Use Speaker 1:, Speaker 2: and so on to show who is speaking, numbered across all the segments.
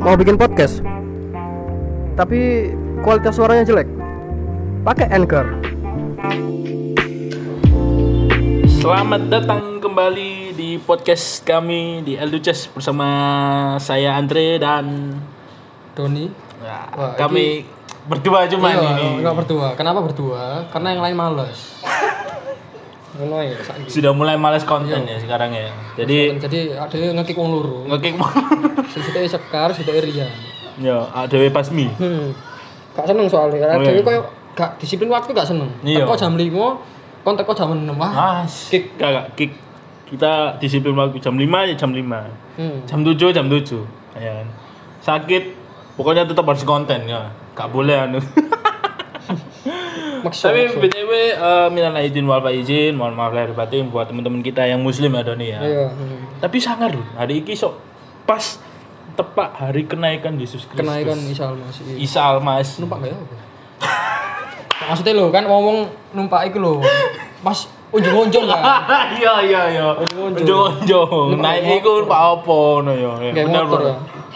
Speaker 1: mau bikin podcast tapi kualitas suaranya jelek pakai anchor
Speaker 2: Selamat datang kembali di podcast kami di Elduces bersama saya Andre dan
Speaker 3: Doni
Speaker 2: ya,
Speaker 3: Wah,
Speaker 2: kami berdua cuma
Speaker 3: iya,
Speaker 2: ini
Speaker 3: nggak berdua kenapa berdua karena yang lain males Ngono ya, saiki.
Speaker 2: sudah mulai males konten ya sekarang ya. Jadi
Speaker 3: Iya. jadi ada yang ngekick wong loro
Speaker 2: ngekik
Speaker 3: sithike sekar sithike rian
Speaker 2: ya adewe pasmi.
Speaker 3: hmm. gak seneng soalnya karena
Speaker 2: Oh, iya.
Speaker 3: dhewe koyo gak disiplin oh, waktu gak seneng
Speaker 2: Iya.
Speaker 3: teko jam 5 kon teko jam 6 wah
Speaker 2: Ah, kick kakak kick. Kita disiplin waktu jam 5 ya jam 5.
Speaker 3: hmm.
Speaker 2: Jam 7 jam 7. Ya kan. Sakit pokoknya tetap harus konten ya. Gak boleh anu.
Speaker 3: maksa
Speaker 2: Tapi
Speaker 3: maksa.
Speaker 2: BTW eh, minal aidin wal faizin, mohon maaf lahir batin buat teman-teman kita yang muslim ya Doni ya.
Speaker 3: iya hmm.
Speaker 2: Tapi sangar loh, hari ini sok pas tepat hari kenaikan Yesus Kristus.
Speaker 3: kenaikan misal masih
Speaker 2: Isa Almas.
Speaker 3: numpak gak ya apa? maksudnya lo kan ngomong numpak iku lo mas unjung-unjung kan
Speaker 2: Iya iya iya. Jonjong. Naik iku kan Pak Opo no ya. ya,
Speaker 3: kayak
Speaker 2: bener,
Speaker 3: motor
Speaker 2: bener.
Speaker 3: ya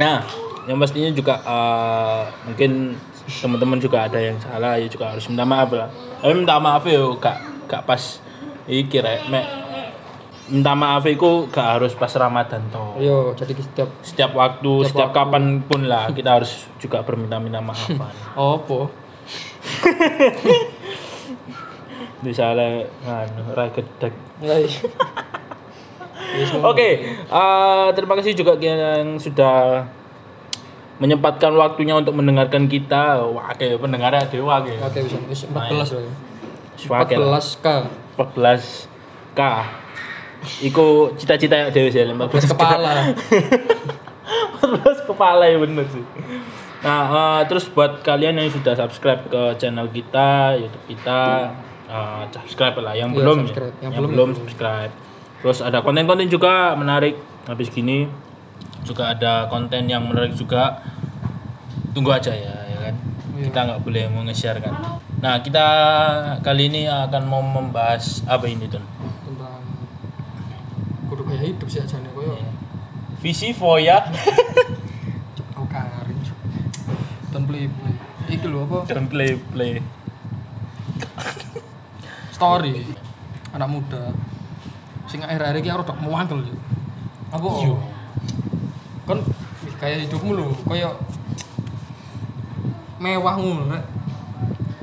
Speaker 2: Nah, yang pastinya juga eh, mungkin teman-teman juga ada yang salah ya juga harus minta maaf lah. Tapi minta maaf ya gak gak pas iki rek mek minta maaf iku gak harus pas Ramadan toh.
Speaker 3: iya jadi setiap
Speaker 2: setiap waktu, setiap kapan pun lah kita harus juga berminta-minta maafan.
Speaker 3: opo
Speaker 2: Misalnya, anu, rai gedek.
Speaker 3: Lah, iya.
Speaker 2: Oke, eh, terima kasih juga yang sudah menyempatkan waktunya untuk mendengarkan kita. Wah, kayak pendengarnya dewa kayak.
Speaker 3: Oke bisa wis 14 loh.
Speaker 2: Suake lah.
Speaker 3: 14 k.
Speaker 2: 14 K. Iku cita-cita ya, yang dewi sih,
Speaker 3: 14
Speaker 2: 14
Speaker 3: kepala.
Speaker 2: 14 kepala ya bener sih. Nah, eh, terus buat kalian yang sudah subscribe ke channel kita, YouTube kita, eh, subscribe lah yang
Speaker 3: Iya,
Speaker 2: belum ya.
Speaker 3: subscribe.
Speaker 2: Yang,
Speaker 3: Yang
Speaker 2: belum,
Speaker 3: belum,
Speaker 2: subscribe. Terus ada konten-konten juga menarik habis gini. Juga ada konten yang menarik juga. Tunggu aja ya, ya kan. Kita nggak boleh mau nge-share kan. Nah, kita kali ini akan mau membahas apa ini, Tun?
Speaker 3: Tentang kudu gaya hidup sih aja nih koyo.
Speaker 2: Visi Voya
Speaker 3: Aku karin. Dan play play. Iki lho apa?
Speaker 2: dan play play.
Speaker 3: Story. Anak muda. Sing akhir-akhir iki aku rodok mewangkel yo. Apa?
Speaker 2: Iya.
Speaker 3: Kon wih, gaya hidupmu lho koyo mewah ngono rek.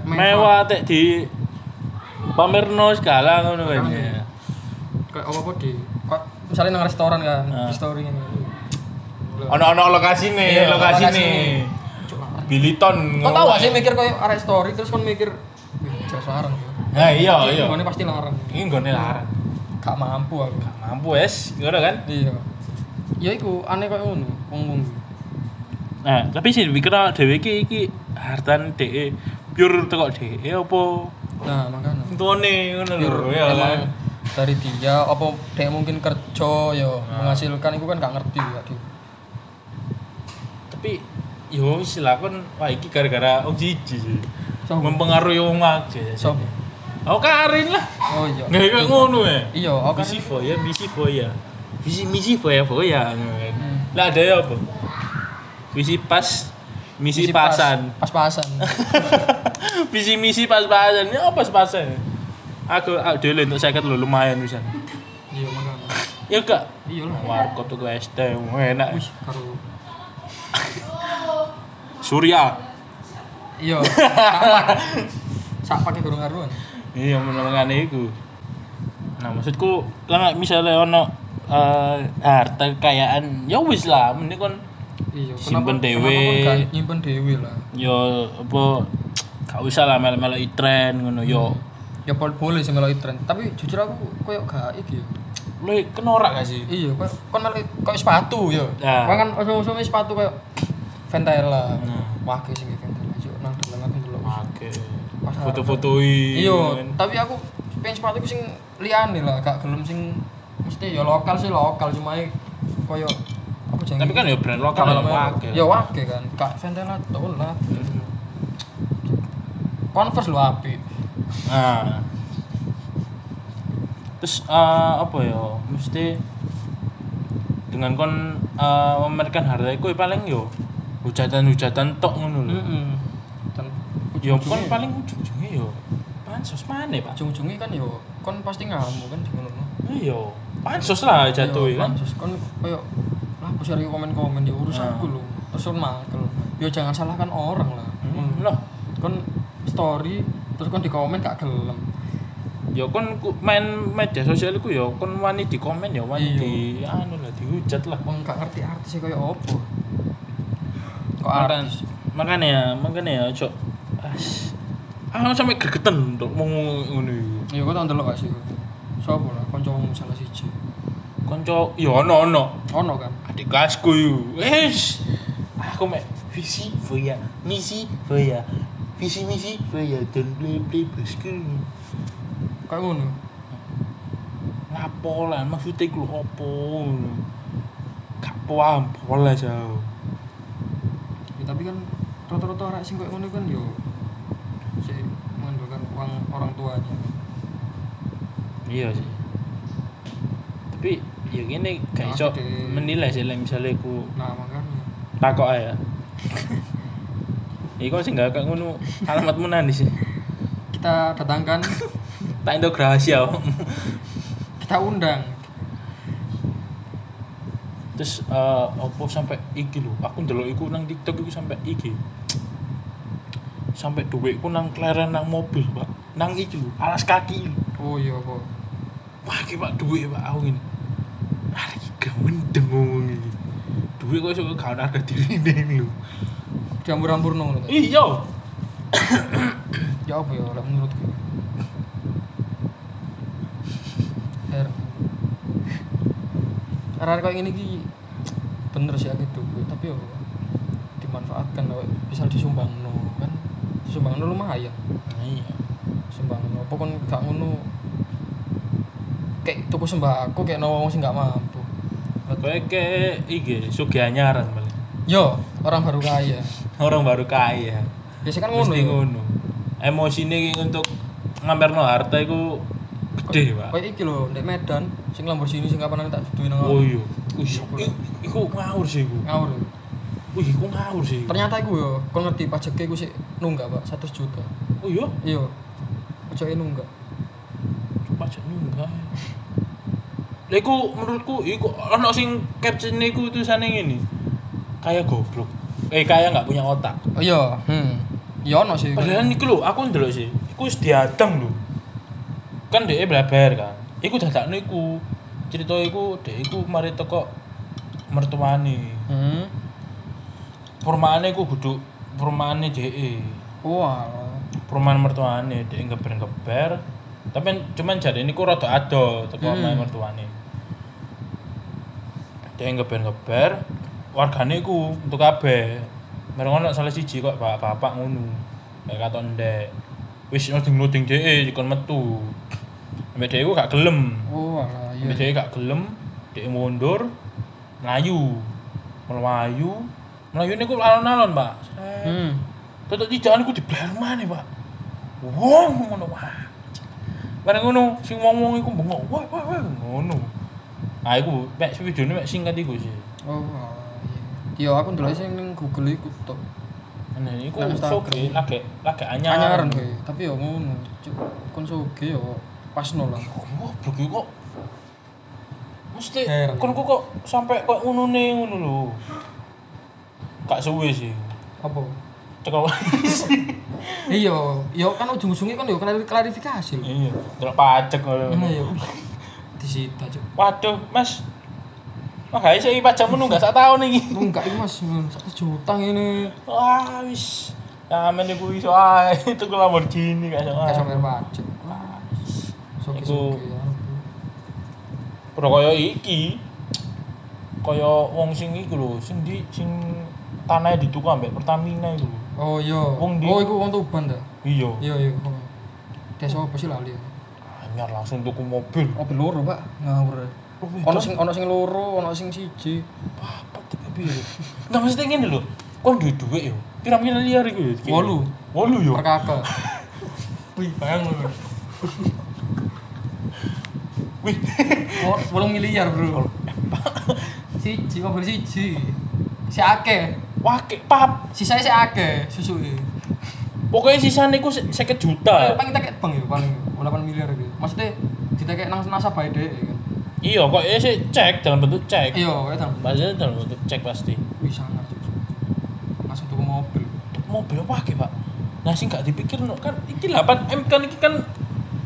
Speaker 2: mewah tek di pamerno segala ngono kan ya.
Speaker 3: kayak apa apa di kok misalnya nang restoran kan
Speaker 2: Ah.
Speaker 3: di story ini
Speaker 2: Ono-ono lokasine,
Speaker 3: Iya,
Speaker 2: lokasine.
Speaker 3: lokasine.
Speaker 2: Biliton.
Speaker 3: kau tahu gak sih mikir kayak arek story terus kan mikir wih jelas larang
Speaker 2: Ya iya iya.
Speaker 3: ini pasti larang
Speaker 2: Ini nggone larang.
Speaker 3: gak mampu aku
Speaker 2: Gak mampu es, ngono kan?
Speaker 3: iya ya iku aneh kayak ngono wong wong
Speaker 2: Nah, tapi sih mikir dhewe iki iki hartan DE pure tekok DE apa
Speaker 3: nah makanya
Speaker 2: entone ngono lho
Speaker 3: iya
Speaker 2: ya kan.
Speaker 3: Emang dari dia apa dia mungkin kerja ya menghasilkan itu kan gak ngerti ya di
Speaker 2: Tapi yo wis lah kon wah iki gara-gara wong siji sih.
Speaker 3: Sopo?
Speaker 2: Mempengaruhi wong akeh.
Speaker 3: Sopo?
Speaker 2: Oh Karin lah.
Speaker 3: oh iya
Speaker 2: Nggak kayak ngono e. ya.
Speaker 3: iya aku
Speaker 2: Misi foya, misi foya. Misi misi foya foya. Lah ada ya apa? Misi pas, misi, pasan.
Speaker 3: pas-pasan
Speaker 2: misi misi pas pasan. Ini apa pas pasan? Aku aku dulu untuk saya lho lumayan bisa.
Speaker 3: iya makanya
Speaker 2: Ya enggak.
Speaker 3: iya lah
Speaker 2: Warkop tuh gue SD, enak.
Speaker 3: wih karo
Speaker 2: Surya.
Speaker 3: iya sama sak pakai gurung karuan
Speaker 2: Iya menolongan itu. Nah maksudku kalau misalnya ono eh, harta kekayaan ya wis lah mending kon
Speaker 3: iya
Speaker 2: Simpen
Speaker 3: kenapa-
Speaker 2: dewe.
Speaker 3: kenapa kon gak nyimpen dewe lah
Speaker 2: yo apa gak usah lah melo-melo itren ngono yo
Speaker 3: ya pol- boleh sih melalui tren tapi jujur aku koyok gak iki ya.
Speaker 2: lu kenora gak sih
Speaker 3: iya koyok kon melalui koyok sepatu ya
Speaker 2: Nah.
Speaker 3: Koyok kan usum-usum sepatu koyok Ventela wah kayak sih Ventela cuy nang dalam aku dulu
Speaker 2: oke
Speaker 3: Pas
Speaker 2: foto-fotoi kan.
Speaker 3: iya tapi aku pengen sepatu ku sing liyane lah gak gelem sing mesti ya lokal sih lokal cuma ya koyok apa jenenge
Speaker 2: tapi kan ya brand
Speaker 3: gitu.
Speaker 2: lokal lah pakai
Speaker 3: Ya wake kan, kak Ventela tahun lah. Converse lu api.
Speaker 2: nah terus eh, apa ya mesti dengan kon eh, memamerkan harta iku paling yo hujatan-hujatan tok ngono lho.
Speaker 3: Heeh. Dan
Speaker 2: Yo kon paling ujung-ujunge yo pansos maneh, Pak.
Speaker 3: ujung-ujungnya kan yo kon pasti ngamuk kan di ngono.
Speaker 2: Iya, pansos lah jatuh
Speaker 3: Iya,
Speaker 2: kan.
Speaker 3: pansos kon koyo lah aku cari komen-komen di
Speaker 2: Nah.
Speaker 3: urusanku lho. Terus kon makel. Yo jangan salahkan orang lah.
Speaker 2: Hmm, Loh,
Speaker 3: Kon story terus kon di komen gak gelem.
Speaker 2: ya kon ku- main media sosial iku ya kon wani di komen ya wani
Speaker 3: Iya.
Speaker 2: di anu lah dihujat lah.
Speaker 3: Wong gak ngerti artis e koyo opo. Kok
Speaker 2: Makan,
Speaker 3: artis?
Speaker 2: makanya ya, makanya ya, cok. As- Ah, sampe gregetan untuk mau ngono iku.
Speaker 3: Yo kok Iya, tak ndelok gak sih. Sopo lah kancamu salah siji.
Speaker 2: Konco, ya ono ono.
Speaker 3: Ono kan.
Speaker 2: Adik kelasku yu. Wis. Ah, Aku mek visi voya, misi voya. Visi misi voya dan play play basku.
Speaker 3: Kayak ngono.
Speaker 2: Lapo lah maksudnya iku lho opo? ngono. Gak paham pola jauh.
Speaker 3: Ya, tapi kan rata-rata orang sing kayak ngono kan yo si mengandalkan uang orang tuanya.
Speaker 2: Iya sih. Tapi ya gini gak
Speaker 3: Nah,
Speaker 2: iso
Speaker 3: gede.
Speaker 2: menilai sih like, misalnya aku
Speaker 3: Nah, makanya
Speaker 2: takok ae ya. Iku sing gak kayak ngono alamatmu nang sih.
Speaker 3: kita datangkan,
Speaker 2: Tak indo rahasia.
Speaker 3: kita undang.
Speaker 2: Terus eh opo sampai iki lho. Aku ndelok iku nang TikTok iku sampai iki. Sampai dhuwitku nang kleren nang mobil, Pak. Nang iki lho, alas kaki. lho.
Speaker 3: Oh iya kok.
Speaker 2: Wah, iki Pak dhuwit Pak aku ngene. Arek iki gak mendeng ngomong iki. Dhuwit kok iso gak ono harga dirine lho.
Speaker 3: Diambur-ambur ngono ta.
Speaker 2: Iya.
Speaker 3: Ya apa ya lah menurutku. Er. Arek kayak gini ki bener sih aku duit, tapi yo dimanfaatkan lah, bisa disumbang kan disumbang lumayan
Speaker 2: Iya.
Speaker 3: sembangno apa kon gak ngono kayak tuku sembako kayak no wong sing gak mampu
Speaker 2: Kayak kayak e iki sugih anyaran paling.
Speaker 3: yo orang baru kaya
Speaker 2: Orang baru kaya.
Speaker 3: biasanya kan ngono
Speaker 2: Mesti
Speaker 3: yo.
Speaker 2: ngono. Emosine iki untuk ngamerno harta iku gede, Pak.
Speaker 3: kayak iki lho ndek Medan sing Lamborghini sing kapan tak duduin nang
Speaker 2: Oh iya. Wih, i- iku ngawur sih iku.
Speaker 3: ngawur yo.
Speaker 2: Wih, iku ngawur sih. iku.
Speaker 3: ternyata iku yo kon ngerti pajaknya iku sik nunggak Pak 100 juta
Speaker 2: Oh iya,
Speaker 3: iya pajake nunggak
Speaker 2: pajak nunggak. Lah iku menurutku iku ana sing caption iku tulisane ngene. Kayak goblok. Eh, kayak nggak punya otak.
Speaker 3: oh iya hmm iya ono sih
Speaker 2: Padahal niku lho, aku ndelok sih. Iku wis diadang lho. Kan dhek blaber kan. Iku dadakno iku. Cerita iku dhek iku mari teko mertuane.
Speaker 3: hmm
Speaker 2: Permane iku duduk permane dhek.
Speaker 3: wah
Speaker 2: Perumahan mertuane dhek ngeber-ngeber. Tapi cuman jare niku rada ado teko
Speaker 3: Hmm.
Speaker 2: omahe mertuane. Dhek ngeber-ngeber wargane iku untuk kabeh. Mereka ono salah siji kok bapak-bapak ngono. Kayak katon ndek. Wis nuding-nuding dhek kon metu. Ambek dhek iku gak gelem.
Speaker 3: wah Oh, iya
Speaker 2: Ambek dhek gak gelem, dhek mundur, melayu. Melayu. Melayu niku alon-alon, Pak. Set.
Speaker 3: hmm
Speaker 2: Tetep di jalan ku di mana pak? Wong ngono wah. Bareng ngono, sing wong wong iku bengok, wah wah wah ngono. Ah iku mek videone mek singkat iku sih.
Speaker 3: oh wah iya aku ndelok sing ning Google iku tok
Speaker 2: Nah iku
Speaker 3: Nang Instagram.
Speaker 2: soge lagi lagi anyar.
Speaker 3: anyaran kowe tapi yo ngono cuk kon soge yo pasno lah
Speaker 2: Wah, bagi kok mesti
Speaker 3: Heran.
Speaker 2: kon kok kok sampai kok ngono ne ngono lho. Gak suwe sih.
Speaker 3: apa
Speaker 2: Cekok.
Speaker 3: iya yo kan ujung-ujungnya kan yo klari- klarifikasi lho
Speaker 2: Iya, delok pacek
Speaker 3: ngono
Speaker 2: ngono.
Speaker 3: yo disita cuk
Speaker 2: Waduh, Mas. Wah, guys, iki pajak menunggak sak tahun iki.
Speaker 3: enggak ini mas satu juta ini
Speaker 2: Wah, wis. Amen iku iso ae tuku Lamborghini gak iso
Speaker 3: gak
Speaker 2: ae.
Speaker 3: sampai pajak
Speaker 2: Wah,
Speaker 3: soge
Speaker 2: Iku-
Speaker 3: soge ya
Speaker 2: Bro kaya iki. Kaya wong sing iku lho, sing di sing tanahnya dituku ambek Pertamina iku lho.
Speaker 3: oh iya
Speaker 2: Wong di-
Speaker 3: oh iku wong Tuban ta
Speaker 2: Iya.
Speaker 3: iya iya oh. desa apa sih lali ya?
Speaker 2: Anyar langsung tuku mobil.
Speaker 3: oh beloro pak ngawur ya.
Speaker 2: Oh,
Speaker 3: ono sing ono sing loro ono sing siji
Speaker 2: apa tuh piye? Nah, mesti ngene lho. Kon duwe dhuwit yo. Kira-kira liar iku ya, yo.
Speaker 3: Wolu.
Speaker 2: Wolu yo.
Speaker 3: per kakak wih bayang lho.
Speaker 2: Wih.
Speaker 3: Oh, 10 miliar bro. Siji, mobil siji. Si akeh.
Speaker 2: Wah, kek pap.
Speaker 3: Sisanya si akeh susuke.
Speaker 2: Pokoknya sisanya itu se- seket
Speaker 3: Paling
Speaker 2: juta.
Speaker 3: paling kita kayak bang ya paling 8 miliar gitu. Maksudnya kita kayak nang nasabah deh kan.
Speaker 2: Iya, kok ya sih cek dalam bentuk cek.
Speaker 3: Iya, ya dalam
Speaker 2: Bahasanya dalam bentuk cek pasti.
Speaker 3: wih sangar Cuk. Langsung tuku mobil.
Speaker 2: Mobil apa ke pak? Nah sih nggak dipikir no. kan ini 8 m kan ini kan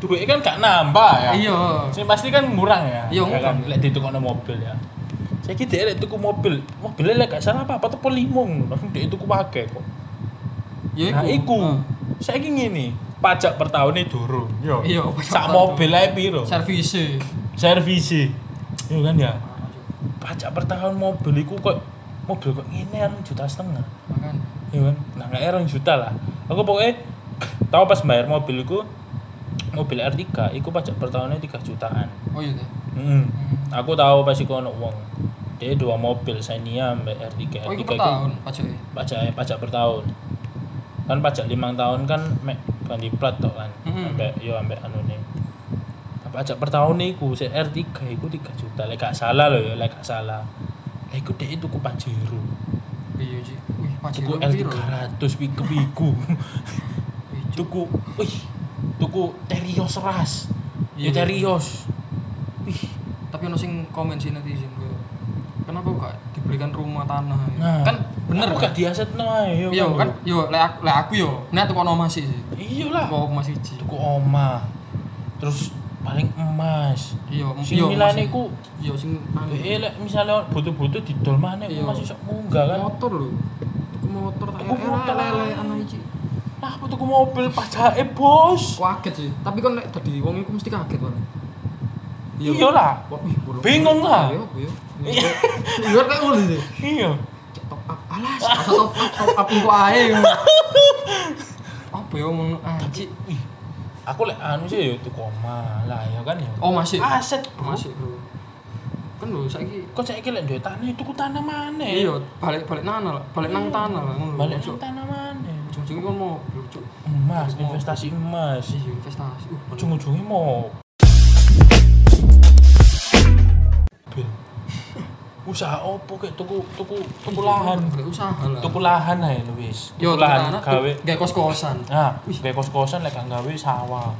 Speaker 2: duitnya kan nggak nambah ya.
Speaker 3: Iya.
Speaker 2: Sing pasti kan murah ya.
Speaker 3: Iya,
Speaker 2: ya kan
Speaker 3: murah.
Speaker 2: lek ditukokno mobil ya. Saya kira lek tuku mobil, mobilnya lek gak salah apa-apa tuh polimong, langsung dia tuku pakai kok.
Speaker 3: Ya
Speaker 2: Nah, iku. Saya ngene, pajak per tahunnya durung. Yo.
Speaker 3: Iya, pajak
Speaker 2: Sak
Speaker 3: per
Speaker 2: mobil ae piro?
Speaker 3: Servise.
Speaker 2: Servis. Yo kan
Speaker 3: Ah,
Speaker 2: ya. Pajak per tahun mobil iku kok mobil kok ngene kan juta setengah.
Speaker 3: Makan.
Speaker 2: Iya kan? Nah, nggak erang juta lah. Aku pokoknya tahu pas bayar mobilku mobil R3 iku pajak per tahunnya 3 jutaan.
Speaker 3: Oh iya deh.
Speaker 2: Mm.
Speaker 3: Hmm.
Speaker 2: Aku tahu pasti kono uang. Dia dua mobil Xenia mbak R3.
Speaker 3: Oh
Speaker 2: R3
Speaker 3: iku per
Speaker 2: itu
Speaker 3: tahun pajaknya.
Speaker 2: Pajak eh, pajak per tahun. Kan pajak lima tahun kan mek ganti plat tok kan.
Speaker 3: Mm-mm.
Speaker 2: Ambek yo ambek anu nih. Pajak per tahun iku sik R3 iku 3 juta. Lek gak salah loh ya, lek gak salah. Lek iku dhek tuku Pajero.
Speaker 3: Iya sih. Wih pajak
Speaker 2: Tuku L300 piku piku. tuku wih tuku Terios ras.
Speaker 3: Iya,
Speaker 2: Yo
Speaker 3: iya.
Speaker 2: Terios. Wih,
Speaker 3: Tapi ono sing komen sih netizen gue. Kenapa gak dibelikan rumah tanah? ya?
Speaker 2: Nah,
Speaker 3: kan bener
Speaker 2: aku gak
Speaker 3: kan?
Speaker 2: diasetno ae yo.
Speaker 3: Iya kan, yo lek aku, lek aku yo, nek tuku ono masih sih.
Speaker 2: Iya lah.
Speaker 3: Tuku ono masih siji.
Speaker 2: tuku oma terus paling emas
Speaker 3: Iya, m-
Speaker 2: Sing
Speaker 3: iya,
Speaker 2: milane
Speaker 3: masih-
Speaker 2: ku-
Speaker 3: iya sing anu.
Speaker 2: eh lek misalnya butuh-butuh didol mana
Speaker 3: Iya.
Speaker 2: masih sok munggah kan
Speaker 3: motor lho. Tuku motor tak
Speaker 2: Tuku motor.
Speaker 3: lele ana iki.
Speaker 2: nah aku tuku mobil pajake bos
Speaker 3: Kaget sih. Tapi kan lek dadi wong iku mesti kaget kan.
Speaker 2: iya lah
Speaker 3: Wah, wih, bolong.
Speaker 2: Bingung lah.
Speaker 3: Iya, iya. Iya. Iya kayak ngono sih.
Speaker 2: iya
Speaker 3: Cek top up alas, top up top up engko ae. Apa ya ngono anjir.
Speaker 2: Ih, aku lek anu sih yo tuku oma lah ya kan ya
Speaker 3: Oh, masih.
Speaker 2: aset bro
Speaker 3: Masih bro. Kan lho saiki
Speaker 2: kok saya lek duwe tanah tuku tanah mana
Speaker 3: iya balik-balik nana lah, balik nang tanah lah ngono.
Speaker 2: balik nang
Speaker 3: Cuk.
Speaker 2: tanah mana
Speaker 3: Ujung-ujungnya kan mau cuk.
Speaker 2: emas investasi emas
Speaker 3: Iya, investasi. Uh, bener.
Speaker 2: ujung-ujungnya mau Bil. usaha opo kayak tuku tuku tuku lahan
Speaker 3: Gak usaha lah.
Speaker 2: tuku lahan aja lu wis
Speaker 3: Yo,
Speaker 2: tuku lahan
Speaker 3: anak
Speaker 2: gawe
Speaker 3: Gak kos-kosan.
Speaker 2: nah gawe kos kosan lek gak gawe sawah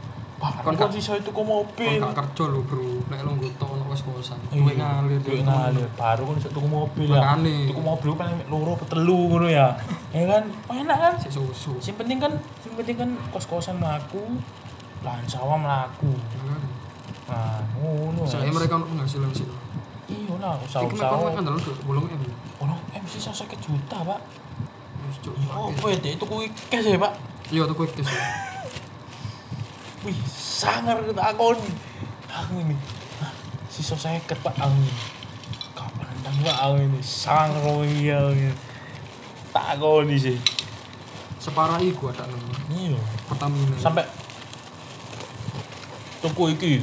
Speaker 2: Wah,
Speaker 3: Kon
Speaker 2: kon
Speaker 3: gak-
Speaker 2: kok iso tuku mobil
Speaker 3: Kon gak kerja lho, Bro. Nek lu nggotok ono kos-kosan,
Speaker 2: Iya,
Speaker 3: duwe ngalir.
Speaker 2: duit ngalir baru kon iso tuku mobil ya
Speaker 3: Makane.
Speaker 2: tuku mobil ku paling mek loro apa telu ngono ya ya kan Oh, enak kan
Speaker 3: Sik susu.
Speaker 2: sing penting kan sing penting kan kos kosan mlaku lahan sawah mlaku nah ngono Iya,
Speaker 3: Soalnya
Speaker 2: wis.
Speaker 3: mereka ono penghasilan sih.
Speaker 2: Iya lah,
Speaker 3: Iki mek kon
Speaker 2: usaha-usaha.
Speaker 3: kan dalu bolong em.
Speaker 2: Ono MC sasa juta, Pak.
Speaker 3: Wis cuk.
Speaker 2: Ya apa ya dek tuku cash ya, Pak?
Speaker 3: Yo tuku iki. sih.
Speaker 2: Wih, sangar kita akon. Aku ini. Hah, Sisa seket, Pak. Aku ini. Kapan nendang, Pak? Aku ini. Sangar aku ini, aku ini. Tak akon ini sih.
Speaker 3: Separah iku ada nang
Speaker 2: Iya.
Speaker 3: Pertamina.
Speaker 2: Sampai tuku iki.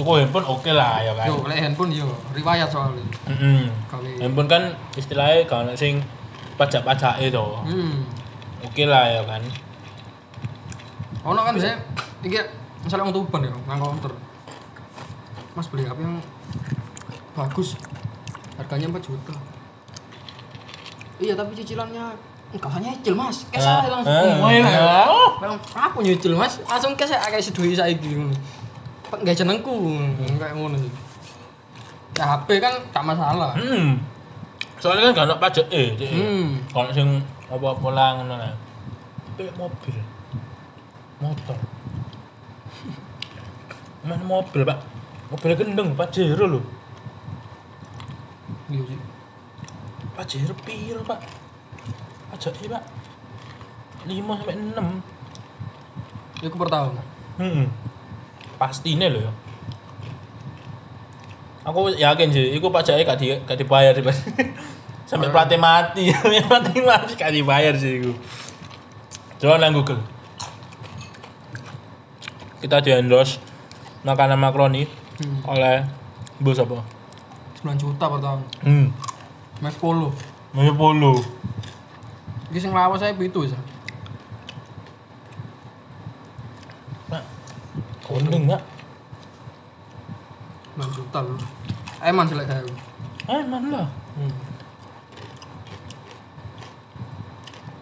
Speaker 2: Tuku handphone oke lah ya
Speaker 3: Yo
Speaker 2: kan.
Speaker 3: lek handphone yo riwayat soalnya.
Speaker 2: Heeh.
Speaker 3: Kali.
Speaker 2: Handphone kan istilahnya kalau sing pajak-pajake to.
Speaker 3: Hmm.
Speaker 2: Oke lah ya kan.
Speaker 3: Ono kan saya iki misalnya wong Tuban ya, nang counter. Mas beli HP yang bagus. Harganya 4 juta. Iya, tapi cicilannya enggak usah nyicil, Mas. Cash
Speaker 2: Ah,
Speaker 3: aja langsung.
Speaker 2: ah,
Speaker 3: Oh, iya, iya.
Speaker 2: ah.
Speaker 3: Memang aku nyicil, Mas. Langsung cash aja kayak sedoi saiki ngono. Pak enggak jenengku, enggak ngono sih. Ya, HP kan gak masalah.
Speaker 2: Hmm. Soalnya kan gak ada pajak eh. Cik.
Speaker 3: Hmm.
Speaker 2: Kalau sing apa-apa lah ngono lah. Pilih mobil. Motor. Main mobil, Pak. Mobilnya gendeng, Pajero lho.
Speaker 3: Iya sih.
Speaker 2: Pajero piro, Pak? Pajaknya, Pak. 5 sampai 6.
Speaker 3: Iku per tahun.
Speaker 2: Hmm. Pastine lho ya. Aku yakin sih, iku pajaknya gak, di, gak dibayar sih, Mas. Sampai
Speaker 3: Bayar.
Speaker 2: pelatih mati, sampai pelatih mati gak dibayar sih iku. Coba nang Google. Kita di endorse makanan makaroni
Speaker 3: Hmm.
Speaker 2: oleh Bu sapa?
Speaker 3: 9 juta per tahun.
Speaker 2: Hmm.
Speaker 3: Mas 10.
Speaker 2: Mau polo.
Speaker 3: Iki sing lawas saya itu sih.
Speaker 2: Mak. Kondeng, Mak.
Speaker 3: 9 juta lho. Eman jelek saya.
Speaker 2: Eh, mana lah.
Speaker 3: Hmm.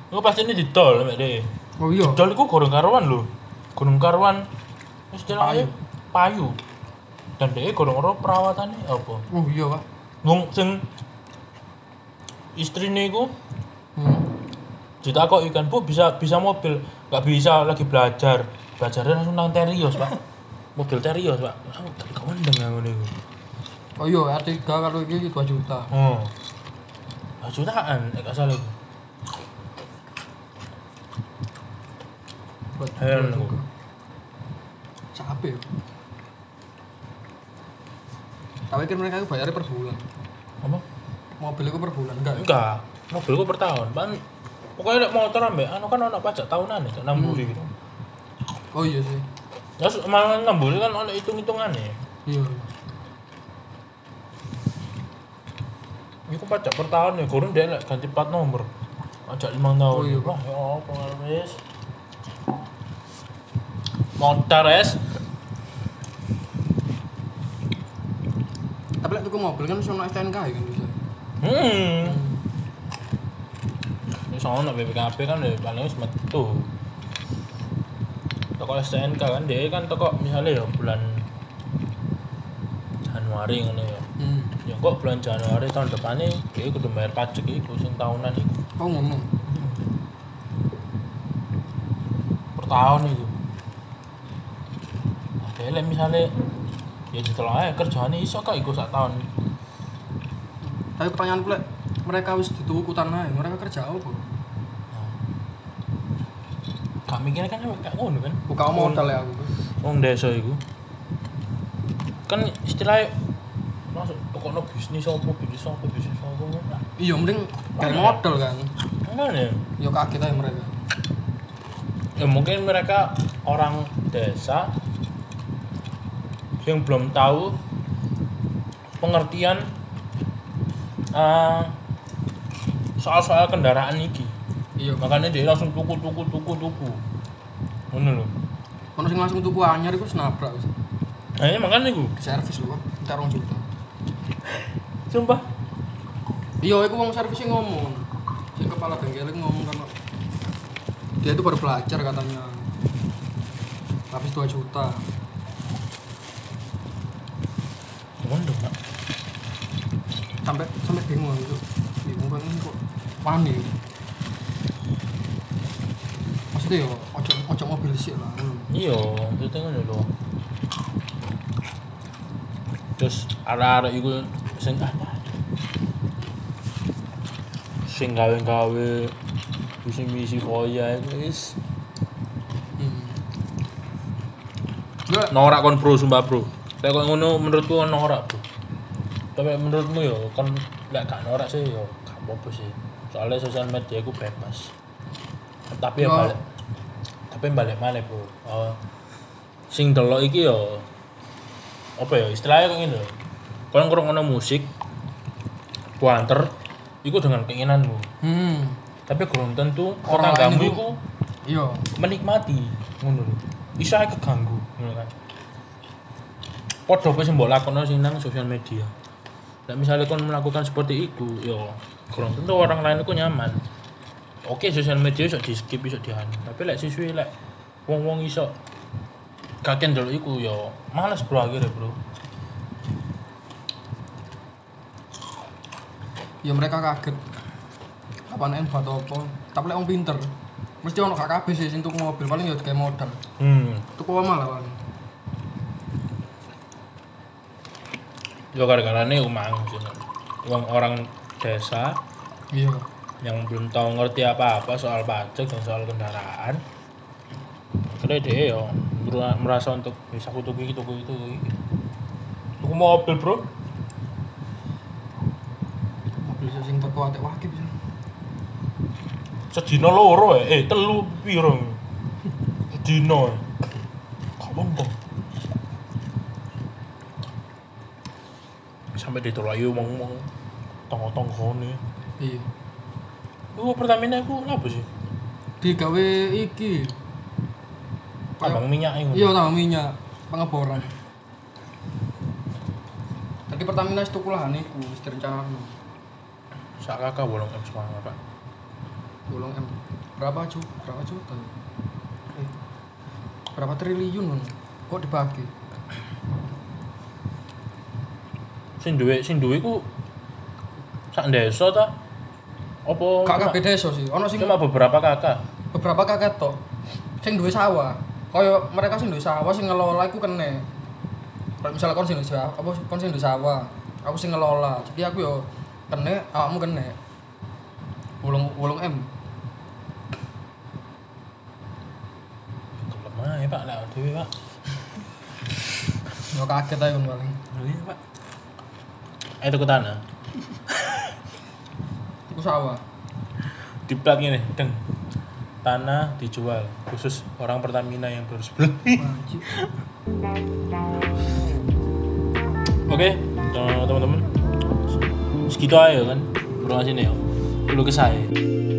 Speaker 2: Gue pasti ini ditol, mek deh.
Speaker 3: Oh iya.
Speaker 2: Ditol itu gorong karuan lho. Gorong karuan. Terus dia payu. payu. Dan dia gorong ora perawatannya apa?
Speaker 3: Oh iya, Pak.
Speaker 2: Ngomong sing istrine iku
Speaker 3: Hmm.
Speaker 2: cerita kok ikan bu bisa bisa mobil nggak bisa lagi belajar belajarnya langsung nang terios pak mobil terios pak aku tak kondeng aku nih
Speaker 3: Oh iya, R3 kalau ini 2 juta.
Speaker 2: oh Lah, jutaan eh gak salah iku.
Speaker 3: Buat
Speaker 2: Heran aku.
Speaker 3: juga. Capek. ya. Tapi kan mereka itu bayarnya per bulan.
Speaker 2: apa
Speaker 3: Mobil itu per bulan enggak. ya?
Speaker 2: enggak mobilku per tahun pan pokoknya nek motor ambek anu kan anak pajak tahunan ya enam puluh gitu
Speaker 3: Oh iya sih.
Speaker 2: terus malah enam puluh kan anak hitung hitungan ya
Speaker 3: Iya.
Speaker 2: Iku pajak per tahun ya, kurang dia lek ganti plat nomor. Pajak lima tahun.
Speaker 3: Oh iya,
Speaker 2: Wah, ya apa ngarep, wis. Motor es.
Speaker 3: Tapi lek tuku mobil kan mesti ono STNK ya kan bisa.
Speaker 2: Hmm. Ini soalnya BPKB kan ya paling wis metu. Toko STNK kan dia kan toko misalnya ya bulan Januari ngono ya.
Speaker 3: Hmm.
Speaker 2: Ya kok bulan Januari tahun depannya dia kudu bayar pajak iku sing tahunan iku.
Speaker 3: Kau ngomong.
Speaker 2: per tahun itu ada yang misalnya ya setelah kerjaannya iso kak ikut sak tahun
Speaker 3: Tapi pertanyaanku lek mereka wis dituku tanah, mereka kerja apa?
Speaker 2: gak mikirnya kan emang gak ngono kan
Speaker 3: Buka modal ya aku.
Speaker 2: orang desa itu kan istilahnya masuk pokoknya bisnis apa bisnis apa bisnis apa enggak
Speaker 3: Iya, mending kayak modal kan.
Speaker 2: enggak ya
Speaker 3: Yo kaget aja mereka.
Speaker 2: ya mungkin mereka orang desa yang belum tahu pengertian eh, soal-soal kendaraan ini
Speaker 3: Iya.
Speaker 2: makanya dia langsung tuku tuku tuku tuku ngono loh
Speaker 3: Ono sing langsung tuku anyar iku wis nabrak wis.
Speaker 2: nah Ah, ini makanya gue
Speaker 3: Di servis lho, entar 2 juta.
Speaker 2: sumpah
Speaker 3: Iya, aku wong servisnya ngomong. Sing kepala bengkel iku ngomong kalau dia itu baru belajar katanya. Habis 2 juta.
Speaker 2: ngono Pak.
Speaker 3: Sampai sampai bingung aku. Bingung kan kok panik. Maksudnya yo ojo ojo mobil sih lah. ngono.
Speaker 2: iya maksudnya ngono loh terus arah-arah iku sing ah sing gawe-gawe misi-misi koya itu is
Speaker 3: Hmm. Enggak,
Speaker 2: norak kon bro sumpah bro lek kok ngono menurutku kon norak bro tapi menurutmu ya kon lek gak norak sih ya gak apa-apa sih soalnya sosial media iku bebas tapi ya
Speaker 3: Yo.
Speaker 2: balik tapi balik mana bro Eh, sing delok iki ya apa ya istilahnya kok ngene lho. kon ngrungokno musik puanter iku dengan keinginanmu
Speaker 3: hmm.
Speaker 2: tapi belum tentu
Speaker 3: Orang lain
Speaker 2: tetanggamu
Speaker 3: itu-
Speaker 2: iku
Speaker 3: Iya.
Speaker 2: menikmati ngono lho. Iso ae keganggu ngono kan. Padha apa sing mbok lakono sing nang sosial media. Lah misalnya kon melakukan seperti itu, yo kurang tentu orang lain itu nyaman. Oke, sosial media iso di skip, iso dihanu. Tapi lek siswi lek wong-wong iso gak kendel iku yo males bro akhirnya bro.
Speaker 3: Ya mereka kaget. Kapan en batu apa? Tapi lek wong pinter. Mesti ono gak kabeh sih sing tuku mobil paling yo kayak modal.
Speaker 2: Hmm.
Speaker 3: Tuku omah lah paling.
Speaker 2: Yo gara-gara ini umang sih. Wong orang desa
Speaker 3: Iya.
Speaker 2: yang belum tahu ngerti apa-apa soal pajak dan soal kendaraan akhirnya dia ya mer- merasa untuk bisa aku tuku itu tuku itu tuku mobil bro
Speaker 3: Mobil sih sing teko atek wakil sih.
Speaker 2: sedina loro ya eh telu piro sedina kapan kok sampai ditolak ngomong tonggo-tonggo nih
Speaker 3: Iya.
Speaker 2: Iku Pertamina aku ngapa sih?
Speaker 3: Digawe iki.
Speaker 2: Tambang minyak
Speaker 3: Iya
Speaker 2: itu.
Speaker 3: tambah minyak pengeboran. Jadi Pertamina itu kulahan iku wis direncanakan.
Speaker 2: Sak kakak bolong M semangat pak.
Speaker 3: Golong M berapa juta? Berapa juta? ya? Eh, berapa triliun kan? Kok dibagi?
Speaker 2: Sing duwe sing duwe ku sak desa ta? Opo?
Speaker 3: Kakak
Speaker 2: cuma-
Speaker 3: beda iso sih. Ono sing
Speaker 2: Cuma beberapa kakak.
Speaker 3: beberapa kakek tok sing duwe sawah kaya mereka sing duwe sawah sing ngelola iku kene kalau misalnya kon sing duwe sawah apa kon sing duwe sawah aku sing ngelola jadi aku yo kene awakmu kene wolong wolong M
Speaker 2: Kelem ae pak lek dhewe pak.
Speaker 3: yo kaget ae kon paling
Speaker 2: Iya pak. Eh tuku tanah.
Speaker 3: iku sawah
Speaker 2: Diplak ini, deng. Tanah dijual khusus orang Pertamina yang baru beli.
Speaker 3: Wajib.
Speaker 2: Oke, teman-teman. Segitu aja kan. Berapa sini ya. Dulu ke saya.